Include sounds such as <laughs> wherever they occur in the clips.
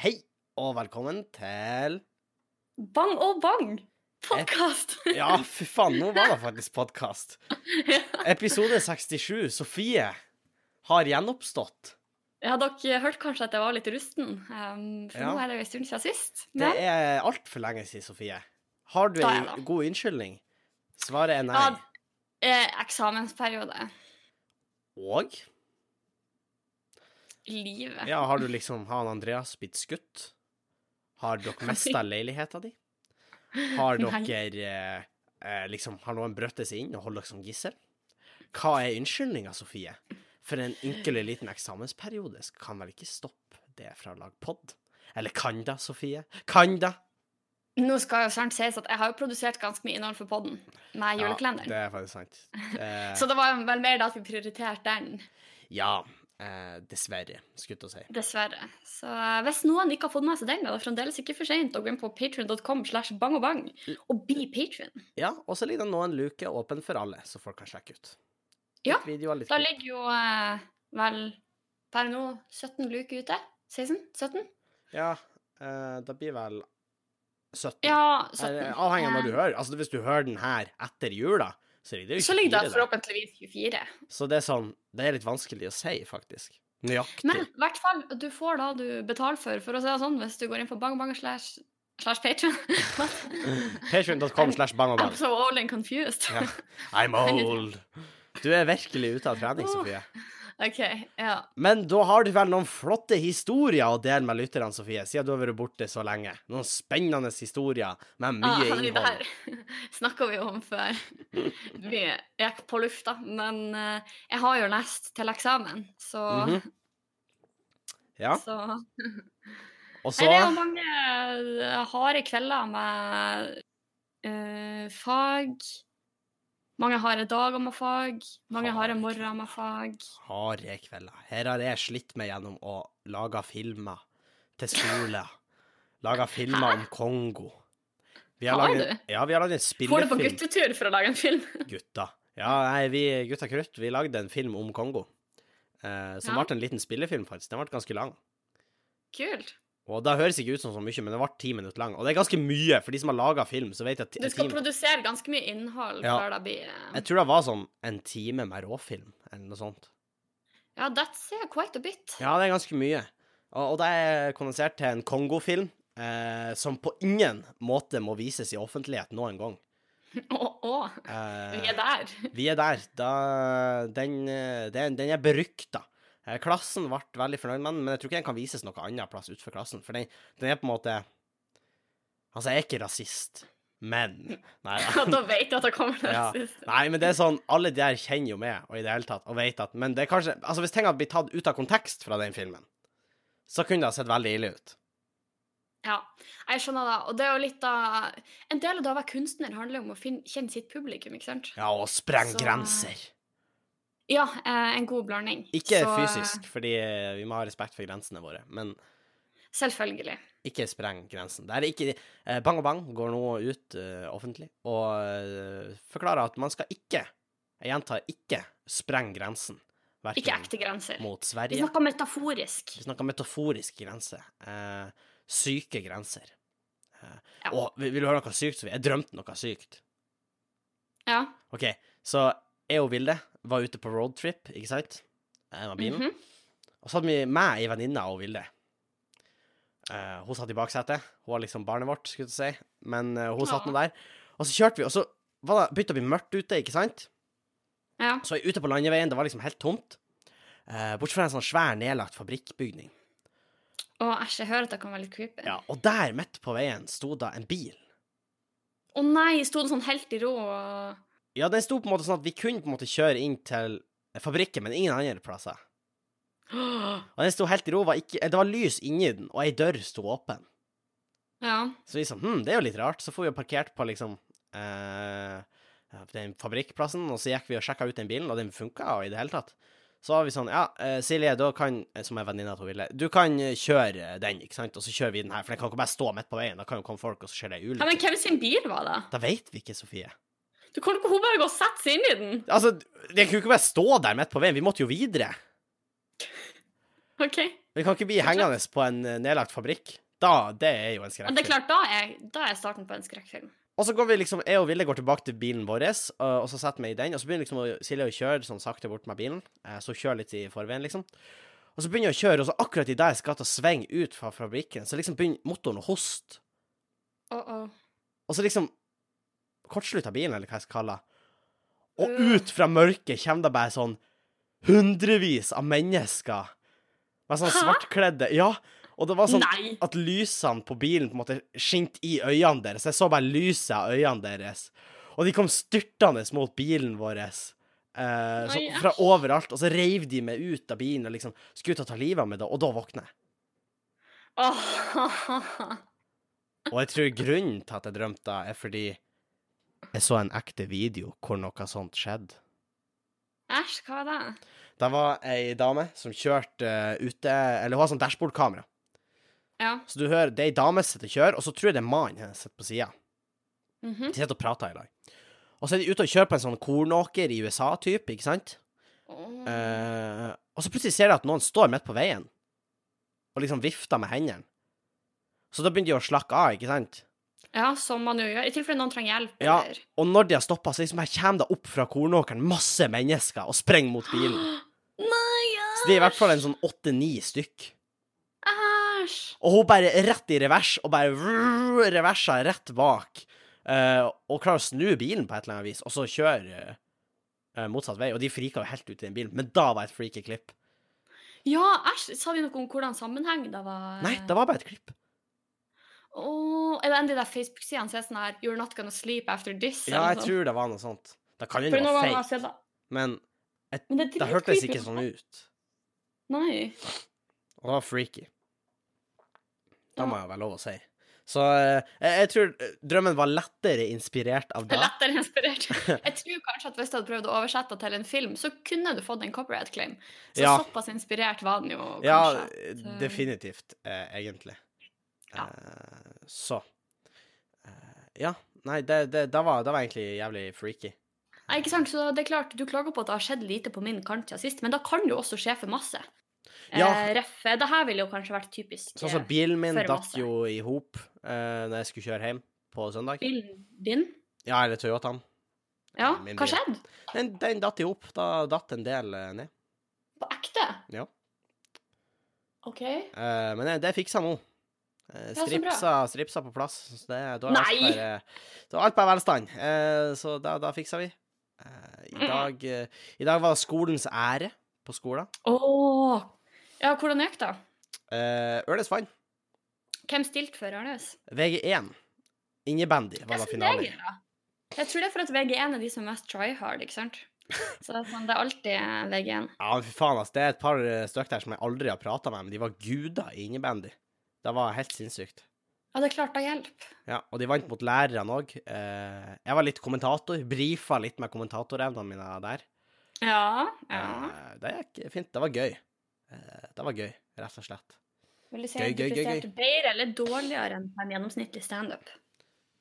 Hei, og velkommen til Bang og bang! Podkast! Ja, fy faen, nå var det faktisk podkast. Ja. Episode 67. Sofie har gjenoppstått. <laughs> Ja, dere hørte kanskje at jeg var litt rusten, um, for Ja. nå er det jo en stund siden sist. Det Men er altfor lenge siden, Sofie. Har du Da er ei det. god unnskyldning? Svaret er nei. Ja. eh, eksamensperiode. Og Livet. ja, har du liksom Han Andreas blitt skutt? Har dere mista leiligheta di? Har Nei. dere eh, eh, liksom Har noen brøtt seg inn og holder dere som gissel? Hva er unnskyldninga, Sofie? For en ynkelig liten eksamensperiode kan vel ikke stoppe det fra å lage pod? Eller kan da, Sofie? Kan da? Nå skal jo snart sies at jeg har jo produsert ganske mye innhold for podden med Ja, julekalenderen. det er faktisk <laughs> sant. Eh, Så det var vel mer da at vi prioriterte den, ja. Eh, dessverre, skulle jeg til å si. dessverre. Så eh, hvis noen ikke har fått med seg den, er det fremdeles ikke for seint å gå inn på patrion.com slash bang og bang og bli patrion. Ja, og så ligger det nå en luke åpen for alle, så folk kan sjekke ut. Ja, Litt videoer, litt Da klipp. ligger jo eh, vel per nå 17 luker ute. sånn? 16? 17? Ja, eh, det blir vel 17. Ja, Eller, 17. Avhengig av når du Eh, hører. Altså, hvis du hører den her etter jula, så ligger det jo Så ligger 24 der. det forhåpentligvis 24. Så det er sånn Det er litt vanskelig å si, faktisk. Nøyaktig. <laughs> Men i hvert fall, du får da du betaler for, for å si det sånn, hvis du går inn på bang bang slash slash <laughs> patron. Patreon.com slash bang og I'm bang. so old and confused. Ja. I'm old. Du er virkelig ute av trening, Åh. Sofie. <laughs> OK. Ja. Men da har du vel noen flotte historier å dele med lytterne, Sofie, siden du har vært borte så lenge. Noen spennende historier med Ah, mye Henry, det innhold. her <laughs> snakka vi om <laughs> før vi gikk på lufta, men eh, jeg har jo lest til eksamen, så, Mhm. Ja, så og Nei, så Det er jo mange eh, harde kvelder med eh, fag. Mange harde dager med fag. Mange Harde harde morgener med fag. harde kvelder. Her har jeg slitt meg gjennom å lage filmer til skole. Lage filmer om Kongo. Vi Har laget- du? Ja, vi har lagd en Får du på spillefilm. guttetur for å lage en film? Gutta. Ja, nei, vi gutta krutt, vi lagde en film om Kongo. Eh, som Ja. ble en liten spillefilm, faktisk. Den ble ganske lang. <laughs> Kult. Og det høres ikke ut som så mye, men den ble ti minutter lang. Og det er ganske mye, for de som har laga film, så vet jeg at ti- Du en skal time produsere ganske mye innhold Ja. før det blir eh, Jeg tror det var sånn en time med råfilm, eller noe sånt. Ja, that's eh, quite a bit. Ja, det er ganske mye. Og, og det er kondensert til en Kongo-film eh, som på ingen måte må vises i offentlighet noen gang. <laughs> Å, å. Vi Eh, er der. vi er der. Da, den, eh, den, den er berykta. Eh, klassen ble veldig fornøyd med den, men jeg tror ikke den kan vises noe annet plass utenfor klassen. For den, den er på en måte Altså, jeg er ikke rasist, men Nei da. da vet du at det kommer til Ja. sist. Nei, men det er sånn, alle de der kjenner jo meg, og i det hele tatt, og vet at Men det er kanskje Altså, hvis ting hadde blitt tatt ut av kontekst fra den filmen, så kunne det ha sett veldig ille ut. Ja, jeg skjønner det. Og det er jo litt av En del av det å være kunstner handler om å finne, kjenne sitt publikum, ikke sant? Ja, og spreng Så- grenser. Ja, eh, en god blanding. Ikke Så, eh, fysisk, fordi eh, vi må ha respekt for grensene våre, men Selvfølgelig. ikke spreng grensen. Det er ikke eh, Bang og Bang går nå ut eh, offentlig og eh, forklarer at man skal ikke, jeg gjentar ikke, spreng grensen. Hverken Ikke ekte grenser. Mot Vi Sverige. snakker metaforisk. Vi snakker metaforisk grense. Eh, syke grenser. Eh, Ja. Og vil vil du høre noe sykt, Sofie? Jeg drømte noe sykt. Ja. OK, så jeg og Vilde var ute på roadtrip, ikke sant? Eh, Med bilen. Mhm. Og så hadde vi meg, ei venninne og Vilde. Eh, hun satt i baksetet. Hun var liksom barnet vårt, skulle jeg til å si. Men eh, hun satt nå der. Og så kjørte vi, og så var det, begynte det å bli mørkt ute, ikke sant? ja. Så jeg er ute på landeveien, det var liksom helt tomt. Eh, bortsett fra en sånn svær, nedlagt fabrikkbygning. Og æsj, jeg hører at det kan være litt creepy. Å Ja, og der, midt på veien, sto da en bil. nei, sto det sånn helt i ro og Ja, den sto på en måte sånn at vi kunne på en måte kjøre inn til fabrikken, men ingen andre plasser. Og den sto helt i ro, var ikke, det var lys inni den, og ei dør sto åpen. Ja. Så vi sånn, hm, det er jo litt rart. Så får vi jo parkert på liksom eh, den fabrikkplassen, og så gikk vi og sjekka ut den bilen, og den funka og i det hele tatt. Så var vi sånn, ja, eh, Silje, da kan, som er venninna til Ville, du kan eh, kjøre eh, den, ikke sant, og så kjører vi den her, for den kan ikke bare stå midt på veien, da kan jo komme folk, og så skjer det ei ja. Men ulykke. hvem sin bil var det? Da veit vi ikke, Sofie. Du kan ikke hun bare gå og sette seg inn i den? Altså, den kunne jo ikke bare stå der midt på veien, vi måtte jo videre. OK? Vi Vi kan ikke bli hengende på en eh, nedlagt fabrikk. Da, Det er jo en Men det er skrekkfilm. klart, da er, da er starten på en skrekkfilm. Og så går vi liksom, jeg og Ville går tilbake til bilen vår, og- og så setter vi i den, og så begynner liksom å- Silje å kjøre sånn sakte bort med bilen, eh, så hun kjører litt i forveien, liksom. Og så begynner hun å kjøre, og så akkurat i det jeg skal til å svinge ut fra fabrikken, så liksom begynner motoren å hoste. Åh, åh. Og så liksom kortslutta bilen, eller hva jeg skal kalle det. Og Øh. ut fra mørket kommer det bare sånn hundrevis av mennesker. Med sånn Hæ? svartkledde Ja. Og det var sånn Nei! <laughs> at lysene på bilen på en måte skinte i øynene deres. Jeg så bare lyset av øynene deres. Og de kom styrtende mot bilen vår. Eh, så, Oi, fra æsj. overalt. Og så reiv de meg ut av bilen og liksom skulle ut og ta livet av meg, da. Og da våkna jeg. Åh. Og jeg tror grunnen til at jeg drømte det, er fordi jeg så en ekte video hvor noe sånt skjedde. Æsj, hva var det? Det var ei dame som kjørte eh, ute Eller hun har sånn dashbordkamera. Ja. Så du hører det er ei dame som sitter og kjører, og så tror jeg det er mannen hennes sitter på sida. Mhm. De sitter og prater i lag. Og så er de ute og kjører på en sånn kornåker i USA-type, ikke sant? Åh. Eh, og så plutselig ser de at noen står midt på veien, og liksom vifter med hendene. Så da begynner de å slakke av, ikke sant? Ja, som man jo gjør. I tilfelle noen trenger hjelp. Ja. eller- Og når de har stoppa, så liksom her kommer det opp fra kornåkeren masse mennesker og sprenger mot bilen. Nei, Så de er i hvert fall en sånn åtte-ni stykk. Æsj! Og hun bare rett i revers, og bare vrrr, reversa rett bak. eh, og klarer å snu bilen på et eller annet vis, og så kjører eh, eh, motsatt vei. Og de frika jo helt ut i den bilen, men da var et freaky klipp. Ja, æsj! Sa de noe om hvordan sammenheng det var? Nei, det var bare et klipp. Åh, er det en av de der Facebook-sidene som er sånn her You're not gonna sleep after this? Ja, eller jeg sånn? tror det var noe sånt. Det kan jo For være noen ganger har jeg fake, sett det. men Men det, er det sånn- hørtes ikke sånn ut. Nei. Og det var freaky. Det Ja. må jeg være lov å si. Så eh, jeg, jeg tror eh, drømmen var lettere inspirert av det. Lettere inspirert. <laughs> Jeg tror kanskje at hvis du hadde prøvd å oversette det til en film, så kunne du fått en copyright claim. Så sånn Ja. såpass inspirert var den jo kanskje. Ja, at, eh, definitivt, eh, egentlig. Ja. Eh, så eh, Ja. Nei, det, det, det, var, det var egentlig jævlig freaky. Nei, ikke sant? Så det er klart, Du klager på at det har skjedd lite på min kant siden sist, men da kan det jo også skje for masse. Ja. Eh, ref, det her ville jo kanskje vært typisk. eh, Sånn som bilen min For datt masse. jo i hop eh, når jeg skulle kjøre hjem på søndag. eh, Bilen din? Ja, eller Toyotaen. Ja, Min hva bil. skjedde? Den, den datt i hop. Da datt en del eh, ned. På ekte? Ja. OK. Eh, men det, det fiksa nå. Eh, Ja, så bra. stripsa, stripsa på plass. Så det, da er alt Nei! bare- da er alt bare velstand. Eh, så da, da fiksa vi. Eh, i, dag, eh, I dag var skolens ære på skolen. Åh. Ja, hvordan gikk det? Eh, Ørnes vant. Hvem stilte for Ørnes? VG1. Innebandy var da Jeg synes finalen. det er gøy, da. Jeg tror det er for at VG1 er de som er mest try hard, ikke <laughs> sant? Så det er, sånn, det er alltid VG1. Ja, men fy faen, ass. Det er et par eh, stykker der som jeg aldri har prata med, men de var guder i innebandy. Det var helt sinnssykt. Ja, det er klart det hjelper. Ja, og de vant mot lærerne òg. Eh, jeg var litt kommentator. Brifa litt med kommentatorevnene mine der. Ja, ja. Eh, det gikk fint. Det var gøy. Eh, det var gøy, rett og slett. Vil du si Gøy, at du gøy, gøy, gøy. presterte bedre eller dårligere enn på en gjennomsnittlig standup?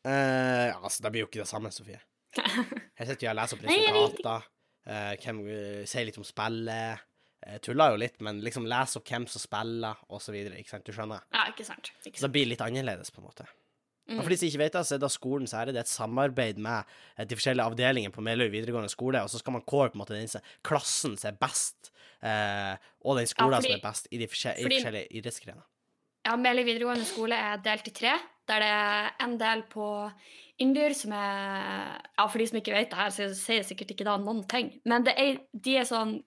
Eh, ja, altså, det blir jo ikke det samme, <laughs> Sofie. Her sitter jeg og leser opp Nei, jeg vet resultater. eh, hvem eh, sier litt om spillet. Uh, tuller jo litt, men liksom leser opp hvem som spiller, og så videre. Ikke sant? Du skjønner? Ja, ikke sant. Ikke Så sant. det blir litt annerledes, på en måte. Og Mm. Altså, for de som ikke vet det, så er da skolens ære det er et samarbeid med eh, de forskjellige avdelingene på Meløy videregående skole, og så skal man kåre på en måte den som- klassen som er best, eh, og den skolen fordi- som er best i de forskjell- i fordi- forskjellige idrettsgrener. Ja, Meløy videregående skole er delt i tre, der det er en del på Indyr som er Ja, for de som ikke vet det her, så sier sikkert ikke da noen ting. Men det er, de er sånn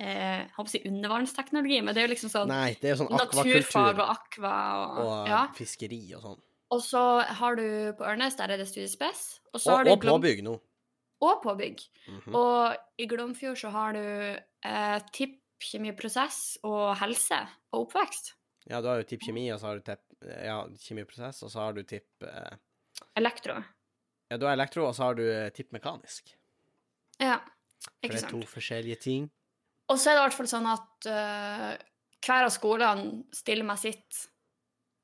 eh, Jeg holdt på å si undervannsteknologi, men det er jo liksom sånn Nei, det er jo sånn Naturfag akvakultur og akva og, og eh, Ja. fiskeri og sånn. Og så har du på Ørnes, der er det studiespes. Og, så har Og, du og Glom- påbygg nå. Og påbygg. Mhm. Og i Glomfjord så har du eh, tipp, kjemiprosess og helse og oppvekst. Ja, du har jo tipp kjemi, og så har du tipp ja, kjemiprosess, og så har du tipp eh, Elektro. Ja, du har elektro, og så har du eh, tipp mekanisk. Ja, For ikke det er to sant. forskjellige ting. Og så er det i hvert fall sånn at eh, hver av skolene stiller med sitt,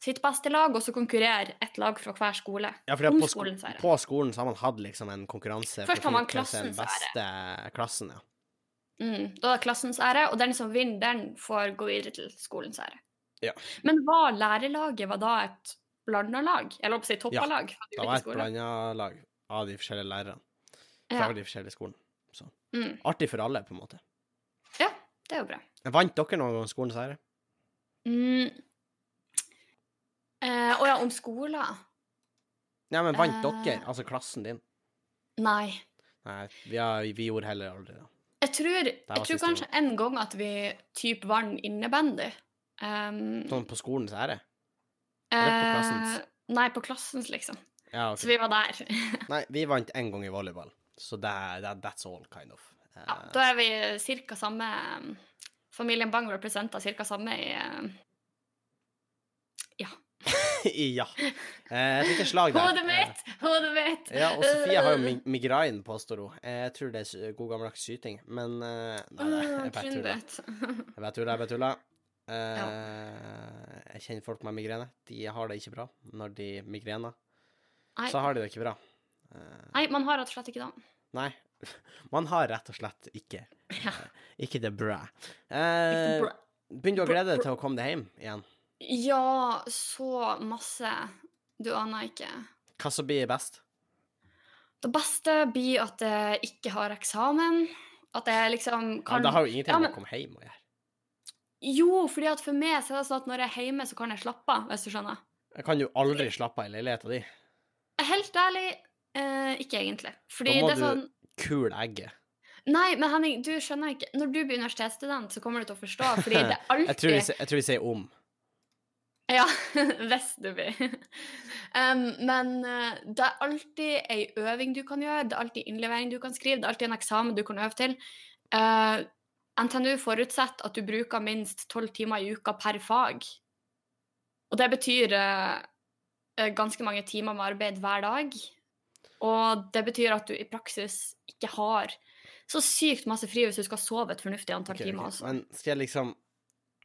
sitt beste lag, og så konkurrerer ett lag fra hver skole. Ja, fordi at Om på, sko skolens ære. på skolen så har man hatt liksom en konkurranse Først har å man finne ut hvem som er den klassens ære. beste klassen, ja. Mm, da er det klassens ære, og den som vinner, den får gå videre til skolens ære. Ja. Men var lærerlaget var da et blanda lag? Eller oppsi toppa Ja, lag? fra Det de ulike var et skolene? blanda lag av de forskjellige lærerne fra Ja. de forskjellige skolene. Mm. Artig for alle, på en måte. ja, det er jo bra. Vant dere noen gang skolens ære? Mm. Eh, å ja, om skoler? Nei, men vant Eh. dere, altså klassen din? Nei. Nei, vi, har, vi gjorde heller aldri det. Jeg tror, jeg var tror siste kanskje en gang at vi typ vant innebandy. Um, Sånn på skolens ære? eller på klassens? eh, Nei, på klassens, liksom. Ja, ok. Så vi var der. Nei, vi vant én gang i volleyball, så det, det, that's all, kind of. Eh, Ja, da er vi cirka samme um, Familien Bang representer cirka samme i um, <laughs> ja. Eh, et lite slag der. Hodet mitt! Hodet mitt! Eh, ja, og Sofie har jo <laughs> mig- migraine, påstår hun. Eh, Jeg tror det er s- god gammeldags syting, men eh, Nei, nei, Mm, jeg bare tuller. Trøndet. Jeg bare tuller, jeg bare tuller. Eh, Jeg kjenner folk med migrene. De har det ikke bra. Når de migrener, Nei. så har de det ikke bra. Eh, nei, man har rett og slett ikke det. Nei. Man har rett og slett ikke <laughs> Ja. Ikke det bra. Eh, Bra. begynner du å bra- glede deg bra- til å komme deg hjem igjen? Ja, så masse. Du aner ikke. Hva som blir best? Det beste blir at jeg ikke har eksamen. At jeg liksom Ja, kan det har jo ingenting Ja, med men- å komme hjem å gjøre. Jo, fordi at for meg så er det sånn at når jeg er hjemme, så kan jeg slappe av, hvis du skjønner. Jeg kan jo aldri slappe av i leiligheta di. Helt ærlig, eh, ikke egentlig. Fordi Da må det er du- sånn Kul egget. Nei, men Henning, du skjønner ikke. Når du blir universitetsstudent, så kommer du til å forstå, <laughs> fordi det er alltid Jeg tror vi, se- jeg tror vi sier om. Ja, <laughs> hvis du blir. Um, men eh, det er alltid ei øving du kan gjøre, det er alltid innlevering du kan skrive, det er alltid en eksamen du kan øve til. Eh, NTNU forutsetter at du bruker minst tolv timer i uka per fag. Og det betyr eh, eh, ganske mange timer med arbeid hver dag. Og det betyr at du i praksis ikke har så sykt masse fri hvis du skal sove et fornuftig antall Ok, ok. timer. Altså. Men skal jeg liksom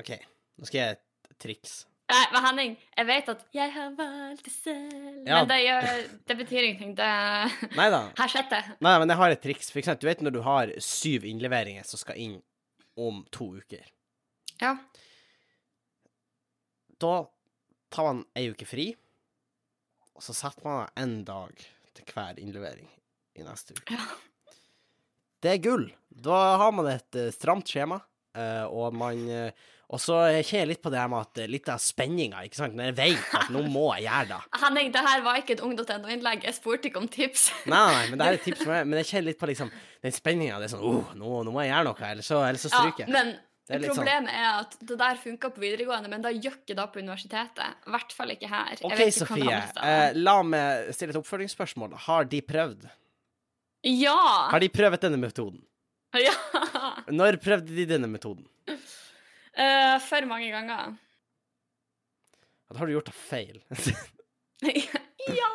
OK, nå skal jeg gjøre et triks. Nei, men Henning, jeg vet at 'jeg har valgt det selv', Ja. men det, gjør, det betyr ingenting. Det Nei da. Her sitter jeg. Nei, men jeg har et triks. For eksempel, du vet når du har syv innleveringer som skal inn om to uker. Ja. Da tar man ei uke fri, og så setter man av én dag til hver innlevering i neste uke. Ja. Det er gull. Da har man et eh, stramt skjema, eh, og man eh, Og så kjenner jeg litt på det her med at eh, litt av spenninga, ikke sant. Når jeg vet at nå må jeg gjøre det. Henning, det her var ikke et ung.no-innlegg. Jeg spurte ikke om tips. Nei, nei, nei, men det her er et tips for meg. Men jeg kjenner litt på liksom den spenninga. Det er sånn oh, nå, nå må jeg gjøre noe, ellers så, ellers så stryker jeg. men Det er litt sånn. problemet er at det der funka på videregående, men det gjør ikke det på universitetet. I hvert fall ikke her. Jeg OK, vet ikke hvordan Sofie. det er andre eh, steder. la meg stille et oppfølgingsspørsmål. Har de prøvd? ja! Har de prøvd denne metoden? <laughs> ja. Når prøvde de denne metoden? Eh, for mange ganger. <laughs> Da har du gjort det feil. <laughs> ja!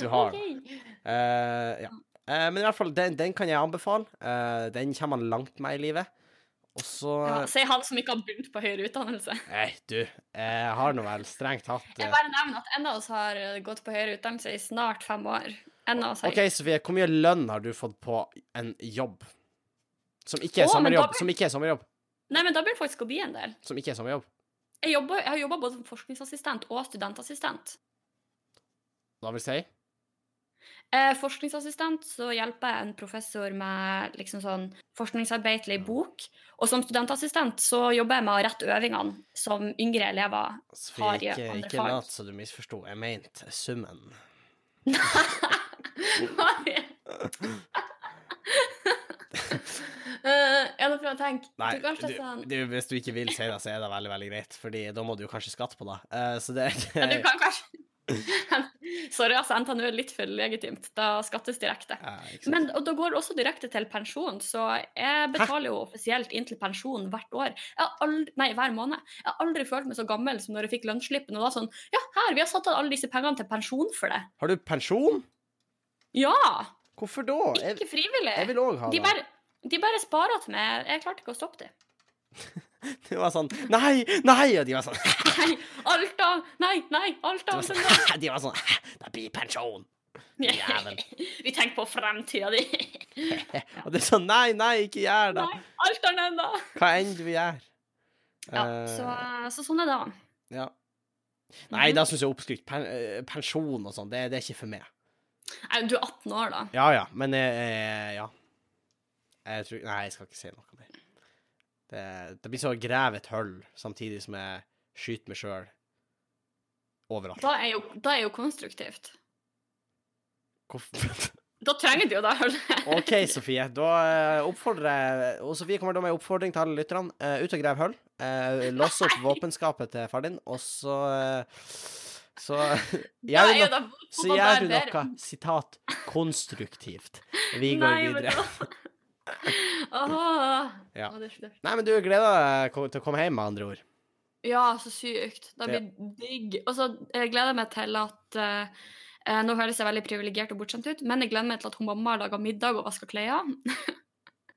Du har OK. Eh, ja. Eh, men i hvert fall, den, den kan jeg anbefale. Eh, den kommer man langt med i livet. Og så Ja, Sier han som ikke har begynt på høyere utdannelse. Nei, du, jeg har nå vel strengt tatt Jeg eh, bare nevner at en av oss har eh, gått på høyere utdannelse i snart fem år. En av oss har OK, Sofie, hvor mye lønn har du fått på en jobb? Som ikke er Å, men da sommerjobb. blir- Som ikke er sommerjobb. Nei, men da blir det faktisk å bli en del. Som ikke er sommerjobb. Jeg, jobber, jeg har jobba både som forskningsassistent og studentassistent. Da vil si Eh, forskningsassistent så hjelper jeg en professor med liksom sånn forskningsarbeid til ei bok. Og som studentassistent så jobber jeg med å rette øvingene som yngre elever. Sofie, Har jeg ikke, andre ikke fag? lat så du misforsto. Jeg mente summen. <laughs> Eh, jeg må prøve å tenke. Nei, du, kanskje du, sånn, du, hvis du ikke vil si det, så er det veldig veldig greit, Fordi da må du jo kanskje skatte på det. Eh, så det <laughs> ja, du kan kanskje <laughs> Sorry, altså, NTNU er litt for legitimt. Da skattes direkte. Eh, ikke sant? Men, og da går det også direkte til pensjon, så jeg betaler jo offisielt inn til pensjon hvert år. Jeg har aldri, nei, hver måned. Jeg har aldri følt meg så gammel som når jeg fikk lønnsslippen. Og da sånn Ja, her, vi har satt av alle disse pengene til pensjon for det. Har du pensjon? Ja! Hvorfor da? Jeg, Ikke frivillig. jeg vil òg ha de, det. bare, de bare sparer til meg. Jeg klarte ikke å stoppe dem. De var sånn Nei! Nei! Og de var sånn <laughs> Nei, Alta! Nei, nei, De Alta! var sånn, <laughs> de var sånn Det blir pensjon! <laughs> jævel. Vi tenker på fremtida di. Og det er sånn Nei, nei, ikke gjør det! Nei, Alta ennå! Hva enn du gjør. Ja, Eh, så, så sånn er det. Ja. Nei, da syns jeg oppskrytt pen, eh, pensjon og sånn, det, det er ikke for meg. Nei, Du er 18 år, da. Ja ja, men eh, ja. Jeg tror Nei, jeg skal ikke si noe mer. Det, det blir så å grave et hull samtidig som jeg skyter meg sjøl overalt. Da er jo, da er jo konstruktivt. Hvorfor? <laughs> Da trenger du jo det hullet. OK, Sofie. Da eh, oppfordrer jeg Og Sofie kommer da med en oppfordring til alle lytterne. Eh, ut og grav hull. Eh, lås <laughs> opp våpenskapet til far din, og så eh, Så Da gjør er du jo noe, det så gjør du bombarderer. noe sitat konstruktivt. Vi går Nei, men videre. <laughs> da- Åh. Ja. Å, det er slørt. Nei, men du gleder deg ko- til å komme hjem, med andre ord. Ja, så sykt. Det blir digg. Og så eh, gleder jeg meg til at eh, eh, Nå høres jeg veldig privilegert og bortskjemt ut, men jeg gleder meg til at hun mamma lager middag og vasker klær.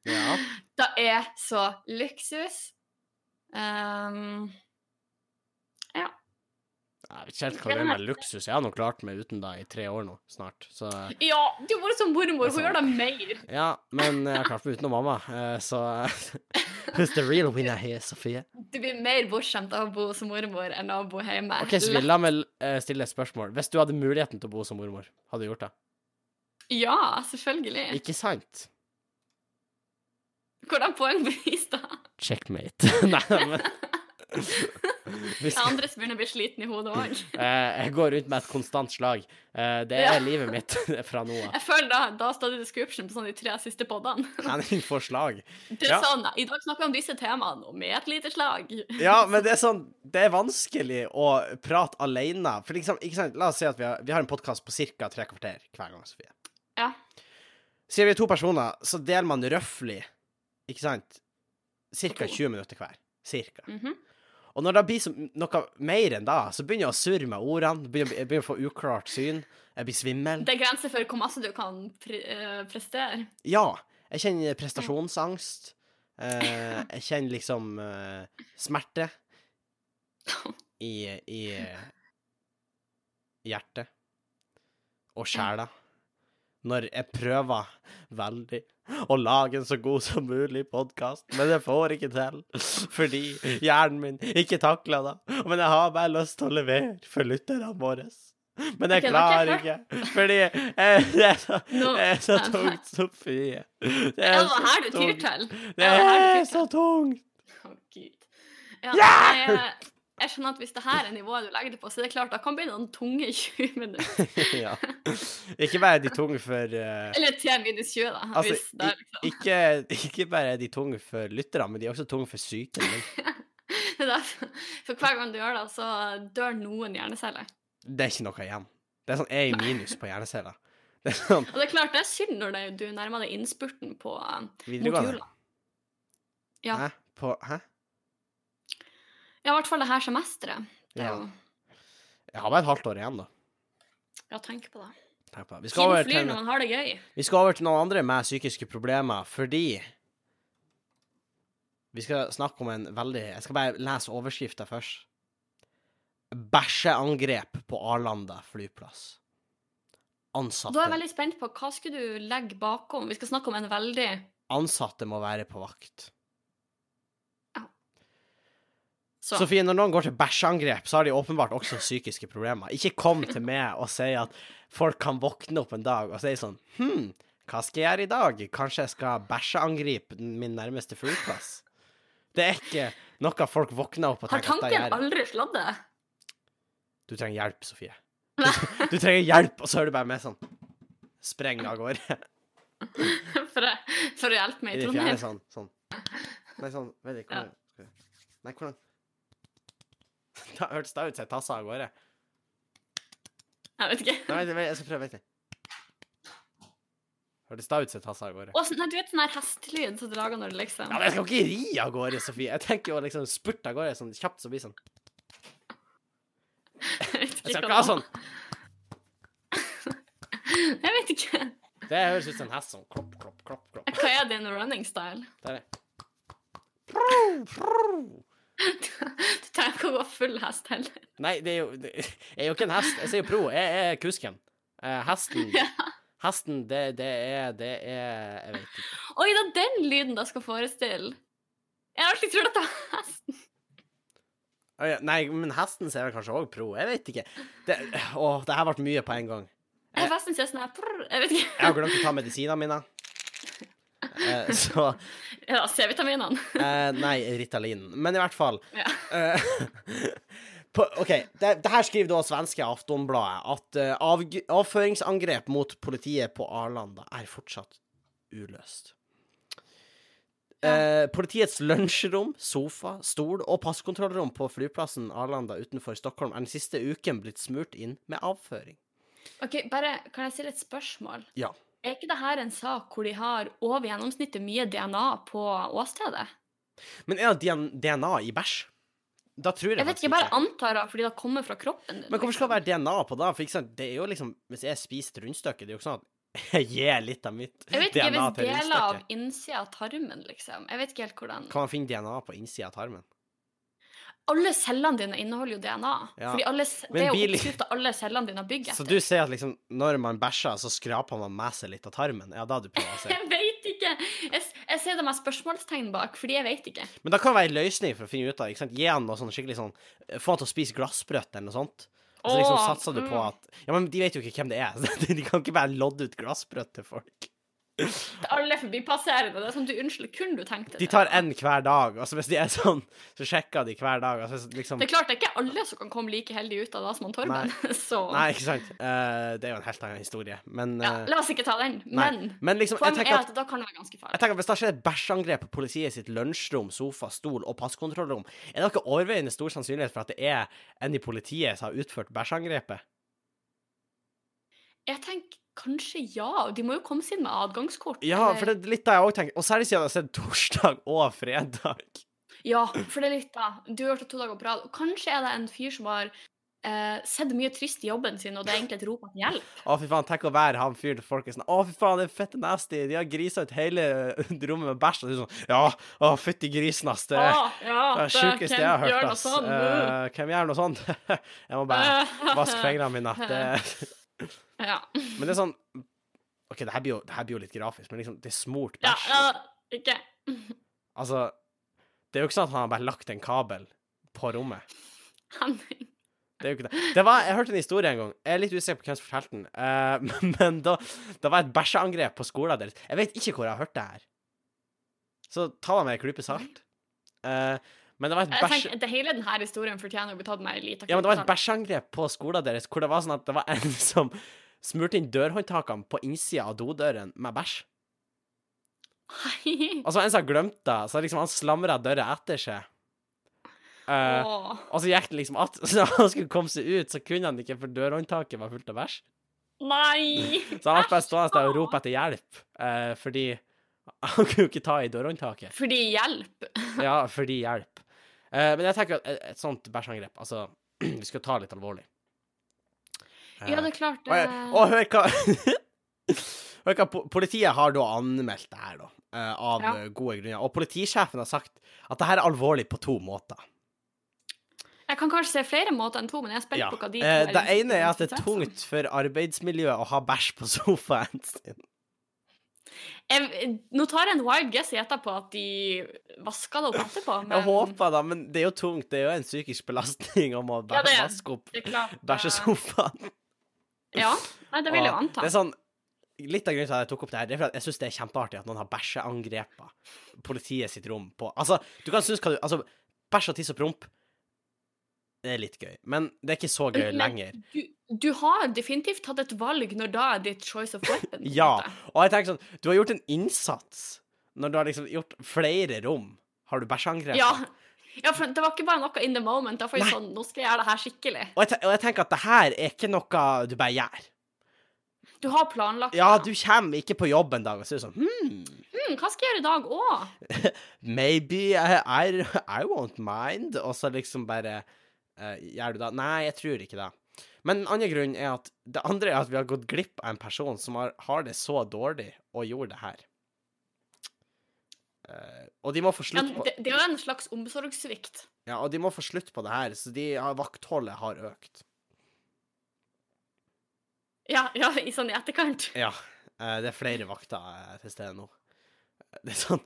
Ja. Det er så luksus. Ehm, Jeg vet ikke helt hva det er med luksus. Jeg har nå klart meg uten det i tre år nå, snart. Så ja, du har vært som mormor. Hun Det er gjør det mer. ja, men jeg har klart meg uten mamma, eh, <laughs> så Who's the real winner here, Sofie? Du blir mer bortskjemt av å bo som mormor enn av å bo hjemme. OK, så vi la meg eh, stille et spørsmål. Hvis du hadde muligheten til å bo som mormor, hadde du gjort det? Ja, selvfølgelig. Ikke sant? Hvordan poengbevis, <laughs> da? Checkmate. <laughs> Nei, men <laughs> Vi Ja, skal- andre begynner å bli sliten i hodet òg. Eh, jeg går rundt med et konstant slag. Eh, det er Ja. livet mitt <laughs> fra nå av. Jeg føler da, da står det i description på sånn de tre siste poddene. Henning får slag. Det er Ja. sånn, I dag snakker vi om disse temaene, og med et lite slag. Ja, men det er sånn Det er vanskelig å prate alene. For liksom, ikke sant, la oss si at vi har, vi har en podkast på ca. tre kvarter hver gang, Sofie. Ja. Sier vi er to personer, så deler man røftlig, ikke sant, ca. 20 minutter hver. Cirka. Mhm. Og når det blir så, noe mer enn det, så begynner jeg å surre med ordene, begynner, jeg begynner å få uklart syn, jeg blir svimmel. Det er grenser for hvor masse du kan pre eh, prestere. Ja. Jeg kjenner prestasjonsangst. Eh, jeg kjenner liksom eh, smerte i, i hjertet og sjela når jeg prøver veldig å lage en så god som mulig podkast, men jeg får ikke til fordi hjernen min ikke takler det. Men jeg har bare lyst til å levere for lytterne våre. Men jeg Ok, det var klarer ikke ikke, fordi jeg, det er så Nå- det er så tungt, Sofie. Det er Er det her du så tyr tungt. til? Det Er det her du er tyr så tungt. Å, gud. Ja, nei, jeg, jeg skjønner at hvis det her er nivået du legger det på, så er det klart, da kan det bli noen tunge <laughs> 20 minutter. <laughs> ja. Ikke bare er de tunge for eh, Eller 10 minus 20, da. Altså, hvis <laughs> det, er liksom. ikke, ikke bare er de tunge for lytterne, men de er også tunge for syken min. Det er derfor- For hver gang du gjør det, så dør noen hjerneceller. Det er ikke noe igjen. Det er sånn jeg er i minus på hjerneceller. Det er sånn Og det er klart, det er synd når det, du nærmer deg innspurten på eh, Mot videregående. jula. Ja. Hæ? På, hæ? Ja, i hvert fall det her semesteret. Det er Ja. jo Jeg har bare et halvt år igjen, da. Ja, tenk på det. Tenk på det. Vi skal, Tiden over flyr til, når man har det gøy. vi skal over til noen andre med psykiske problemer, fordi Vi skal snakke om en veldig Jeg skal bare lese overskrifta først. Bæsjeangrep på Arlanda flyplass. Ansatte Da er jeg veldig spent på hva skulle du legge bakom. Vi skal snakke om en veldig Ansatte må være på vakt. så. Sofie, når noen går til bæsjeangrep, så har de åpenbart også psykiske problemer. Ikke kom til meg og si at folk kan våkne opp en dag og si sånn Hm, hva skal jeg gjøre i dag? Kanskje jeg skal bæsjeangripe den- min nærmeste flyplass? Det er ikke noe folk våkner opp og Har tenker at det tanken gjør jeg. aldri slått deg? <laughs> Du trenger hjelp, Sofie. Du, <laughs> du trenger hjelp, og så er du bare med sånn Spreng av gårde. For, å- for å hjelpe I meg i det fjerne, Trondheim? sånn. sånn. Nei, sånn Veldig, hvordan Nei, hvordan <laughs> Da hørtes det ut som jeg tassa av gårde. Jeg vet ikke. Nei, vent, vent, jeg skal prøve, vent litt. Hørtes det ut som jeg tassa av gårde? Og sånn- nei, du vet sånn her hestelyd som du lager når du liksom Ja, men jeg skal ikke ri av gårde, Sofie. Jeg tenker jo å liksom spurte av gårde sånn kjapt som blir sånn. Jeg vet Jeg ikke. skal ikke hva ha det var. sånn. Jeg vet ikke. Det høres ut som en hest sånn klopp, klopp, klopp, klopp. Hva er din running style? Der er det. Prou, prou. Du trenger ikke å gå full hest heller. Nei, det er jo det, Jeg er jo ikke en hest. Jeg sier jo pro. Jeg er kusken. Eh, hesten Ja. Hesten, det, det er Det er Jeg vet ikke. Oi, det er den lyden jeg skal forestille. Jeg har alltid trodd at det var hesten. Å ja, Nei, men hesten ser vel kanskje òg pro, jeg vet ikke. Det, å, det her ble mye på en gang. Jeg festen ser sånn her prr, Jeg vet Jeg ikke. har glemt å ta medisinene mine. Eh, så Ja, C-vitaminene. eh, Nei, Ritalin. Men i hvert fall. Ja. Eh, <laughs> på, OK. Det, det her skriver da svenske Aftonbladet at eh, avg avføringsangrep mot politiet på Arlanda er fortsatt uløst. Eh, politiets lunsjrom, sofa, stol og passkontrollrom på flyplassen Arlanda utenfor Stockholm er den siste uken blitt smurt inn med avføring. Ok, bare, Kan jeg stille et spørsmål? Ja. Er ikke det her en sak hvor de har over gjennomsnittet mye DNA på åstedet? Men er det DNA i bæsj? Da tror jeg, Jeg vet faktisk ikke, jeg bare antar det fordi det kommer fra kroppen din. Men hvorfor skal det liksom. være DNA på da? For ikke sant, det er jo liksom Hvis jeg spiser et rundstykke, det er jo ikke sånn at <laughs> jeg gir litt av mitt Jeg vet ikke, DNA hvis til deler av rundstykket. innsida av tarmen, liksom Jeg vet ikke helt hvordan Kan man finne DNA på innsida av tarmen? Alle cellene dine inneholder jo DNA. Ja. Fordi alle, ce- Men det er jo bil- oppskrift av alle cellene dine har bygd Så etter. du ser at liksom når man bæsjer, så skraper man med seg litt av tarmen? Ja, da du prøver å <laughs> se. <laughs> Jeg vet ikke! Jeg, s- jeg ser det med spørsmålstegn bak, fordi jeg vet ikke. Men da kan det være en løsning for å finne ut av ikke sant? Gi han noe sånn skikkelig sånn Få han til å spise glassbrøtt eller noe sånt. Og så liksom Åh, satser du på mm. at Ja, men de vet jo ikke hvem det er. <laughs> så De kan ikke bare lodde ut glassbrøtt til folk. Til alle forbipasserende. Det er sånn du unnskyld, kunne du tenkt deg De det? tar én hver dag, og så hvis de er sånn, så sjekker de hver dag. Og så liksom Det er klart det er ikke alle som kan komme like heldig ut av det som han Torben, <laughs> så Nei, ikke sant. Eh, det er jo en helt annen historie. Men, ja, eh, La oss ikke ta den. nei. Men men liksom, jeg poenget tenker er at at da kan det være ganske jeg farlig. tenker at Hvis det skjer et bæsjangrep på politiet sitt lunsjrom, sofa, stol og passkontrollrom, er det ikke overveiende stor sannsynlighet for at det er en i politiet som har utført bæsjangrepet? Jeg tenker kanskje ja. De må jo komme seg inn med adgangskort. Ja, eller- for det er litt det jeg òg tenker. Og særlig siden jeg har sett torsdag <laughs> og fredag. Ja, for det er litt da. Du har hørt det to dager på rad. Og Kanskje er det en fyr som har eh, sett mye trist i jobben sin, og det er egentlig et rop om hjelp. Å, fy faen, tenk å være han fyren til folk er sånn Å, fy faen, det er fette nasty. De har grisa ut hele eh, <laughs> rommet med bæsj. Og du er sånn Ja, å, fytti grisen, ass. Det er Å, ja, det sjukeste jeg har hørt, ass. <laughs> Uh, Eh, Hvem gjør noe sånt? <laughs> Jeg må bare Vask fingrene mine. Det, <laughs> Ja. men det er sånn OK, det her blir jo, det her blir jo litt grafisk, men liksom, det er smurt Ja, bæsj. ja, ikke. Altså, det er jo ikke sånn at han har bare lagt en kabel på rommet. Henning. Det er jo ikke det. det var, jeg hørte en historie en gang. Jeg er litt usikker på hvem som fortalte den. eh, <laughs> men- men da det var et bæsjeangrep på skolen deres. Jeg vet ikke hvor jeg har hørt det her. Så ta det med en klype salt. Eh, men det var et Jeg bæsj... tenker, det hele denne historien fortjener å bli tatt med en liten Ja, men det var et klype bæsjangrep på skolen deres hvor det var sånn at det var en <laughs> som smurte inn dørhåndtakene på innsida av dodøren med bæsj. salt. Og så var det Altså, en som hadde glemt det, så liksom han slamra døra etter seg. Nei. Eh, Åh. og så gikk det liksom at <laughs> Så når han skulle komme seg ut, så kunne han ikke, for dørhåndtaket var fullt av bæsj. <laughs> Nei! Så han ble bare stående der og rope etter hjelp, eh, fordi han kunne jo ikke ta i dørhåndtaket. Fordi hjelp. Ja, fordi hjelp. Eh, men jeg tenker at et, et sånt bæsjangrep, altså <clears throat> Vi skal ta det litt alvorlig. Eh, Ja, det er klart. og, Det... jeg- og hør hva <laughs> Hør hva po- Politiet har da anmeldt det her, da, eh, av Ja. eh, gode grunner. Og politisjefen har sagt at det her er alvorlig på to måter. Jeg kan kanskje se flere måter enn to, men jeg er spent på hva de to Eh, det liksom ene er at det er interessert tungt for arbeidsmiljøet å ha bæsj på sofaen sin. Jeg, nå tar jeg en wild guess i etterpå at de vasker det opp etterpå, <laughs> men Jeg håper da, men det er jo tungt. Det er jo en psykisk belastning om å Ja, bæ- det er- vaske opp det er klart, eh, bæsjesofaen. Ja, nei, det vil jeg jo Og anta. Det er sånn, litt av grunnen til at jeg tok opp det her, det er fordi at jeg syns det er kjempeartig at noen har bæsjeangrepa politiet sitt rom på Altså, du kan synes hva du Altså, bæsj og tiss og promp, det er litt gøy. Men det er ikke så gøy Men- lenger. Du, du har definitivt tatt et valg når da er ditt choice of weapon. på en <laughs> Ja. måte. Og jeg tenker sånn, du har gjort en innsats når du har liksom gjort flere rom. Har du bæsjeangrep? ja. Ja, for det var ikke bare noe in the moment. Det var faktisk sånn, nå skal jeg gjøre det her skikkelig. Og, jeg te- og jeg tenker at det her er ikke noe du bare gjør. Du har planlagt Ja, det. du kommer ikke på jobb en dag og så er du sånn hmm, Hmm, hva skal jeg gjøre i dag òg? Maybe I, I, I won't mind. Og så liksom bare eh, Gjør du det? Nei, jeg tror ikke det. Men den andre grunnen er at det andre er at vi har gått glipp av en person som har, har det så dårlig og gjorde det her. Eh, og de må få Ja, slutt på det, det er jo en slags omsorgssvikt. Ja, og de må få slutt på det her, så de har, vaktholdet har økt. Ja, ja, i sånn i etterkant. Ja. eh, det er flere vakter eh, til stede nå. det er sånn,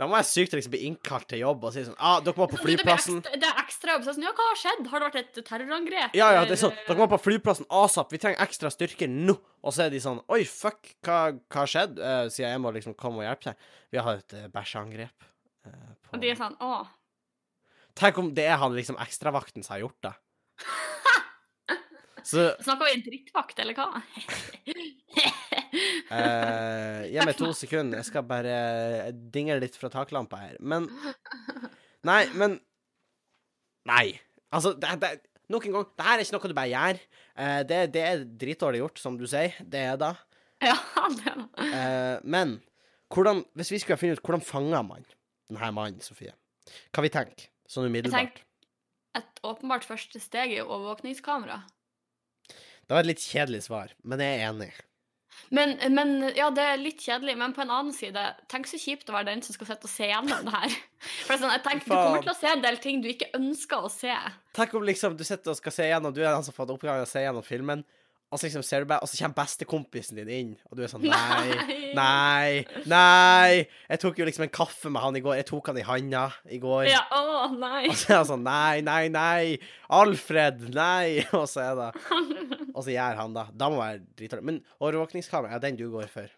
Da må jeg sykt liksom bli innkalt til jobb og si sånn ah, 'Dere må på Det blir flyplassen'. ekstra- Det er ekstra jobb. Så jeg er sånn, ja, hva har skjedd? Har det vært et terrorangrep? Ja, ja, det er sånn Eller- Dere må på flyplassen asap. Vi trenger ekstra styrker nå. Og så er de sånn Oi, fuck, hva hva har skjedd? Eh, Så jeg må liksom komme og hjelpe seg. Vi har et eh, bæsjeangrep. eh, på- Og de er sånn, å. Tenk om det er han liksom ekstravakten som har gjort <laughs> det. Så Snakker vi en drittvakt, eller hva? <laughs> eh, Gi meg to sekunder, jeg skal bare dingle litt fra taklampa her. Men Nei, men Nei. Altså, det, det, nok en gang, det her er ikke noe du bare gjør. Eh, det, det er dritdårlig gjort, som du sier. Det er det. ja, det er det. Eh, men hvordan, hvis vi skulle finne ut hvordan fanger man denne mannen, Sofie? Hva vi tenker, sånn umiddelbart? tenker- Et åpenbart første steg er jo overvåkningskamera. Det var et litt kjedelig svar, men jeg er enig. Men, men ja, det er litt kjedelig, men på en annen side, tenk så kjipt å være den som skal sitte og se gjennom det her. <laughs> For det er sånn, jeg tenker, du kommer til å se en del ting du ikke ønsker å se. Tenk om liksom du sitter og skal se gjennom, du er den som har fått oppgaven å se gjennom filmen, og så liksom ser du bare, og så kommer bestekompisen din inn, og du er sånn nei, nei, nei. Jeg tok jo liksom en kaffe med han i går, jeg tok han i handa i går. Ja, å, nei. <laughs> Og så er han sånn nei, nei, nei. Alfred, nei. <laughs> Og så er <laughs> det Og så gjør han det. Da må være dritdårlig. Men overvåkningskamera er den du går for.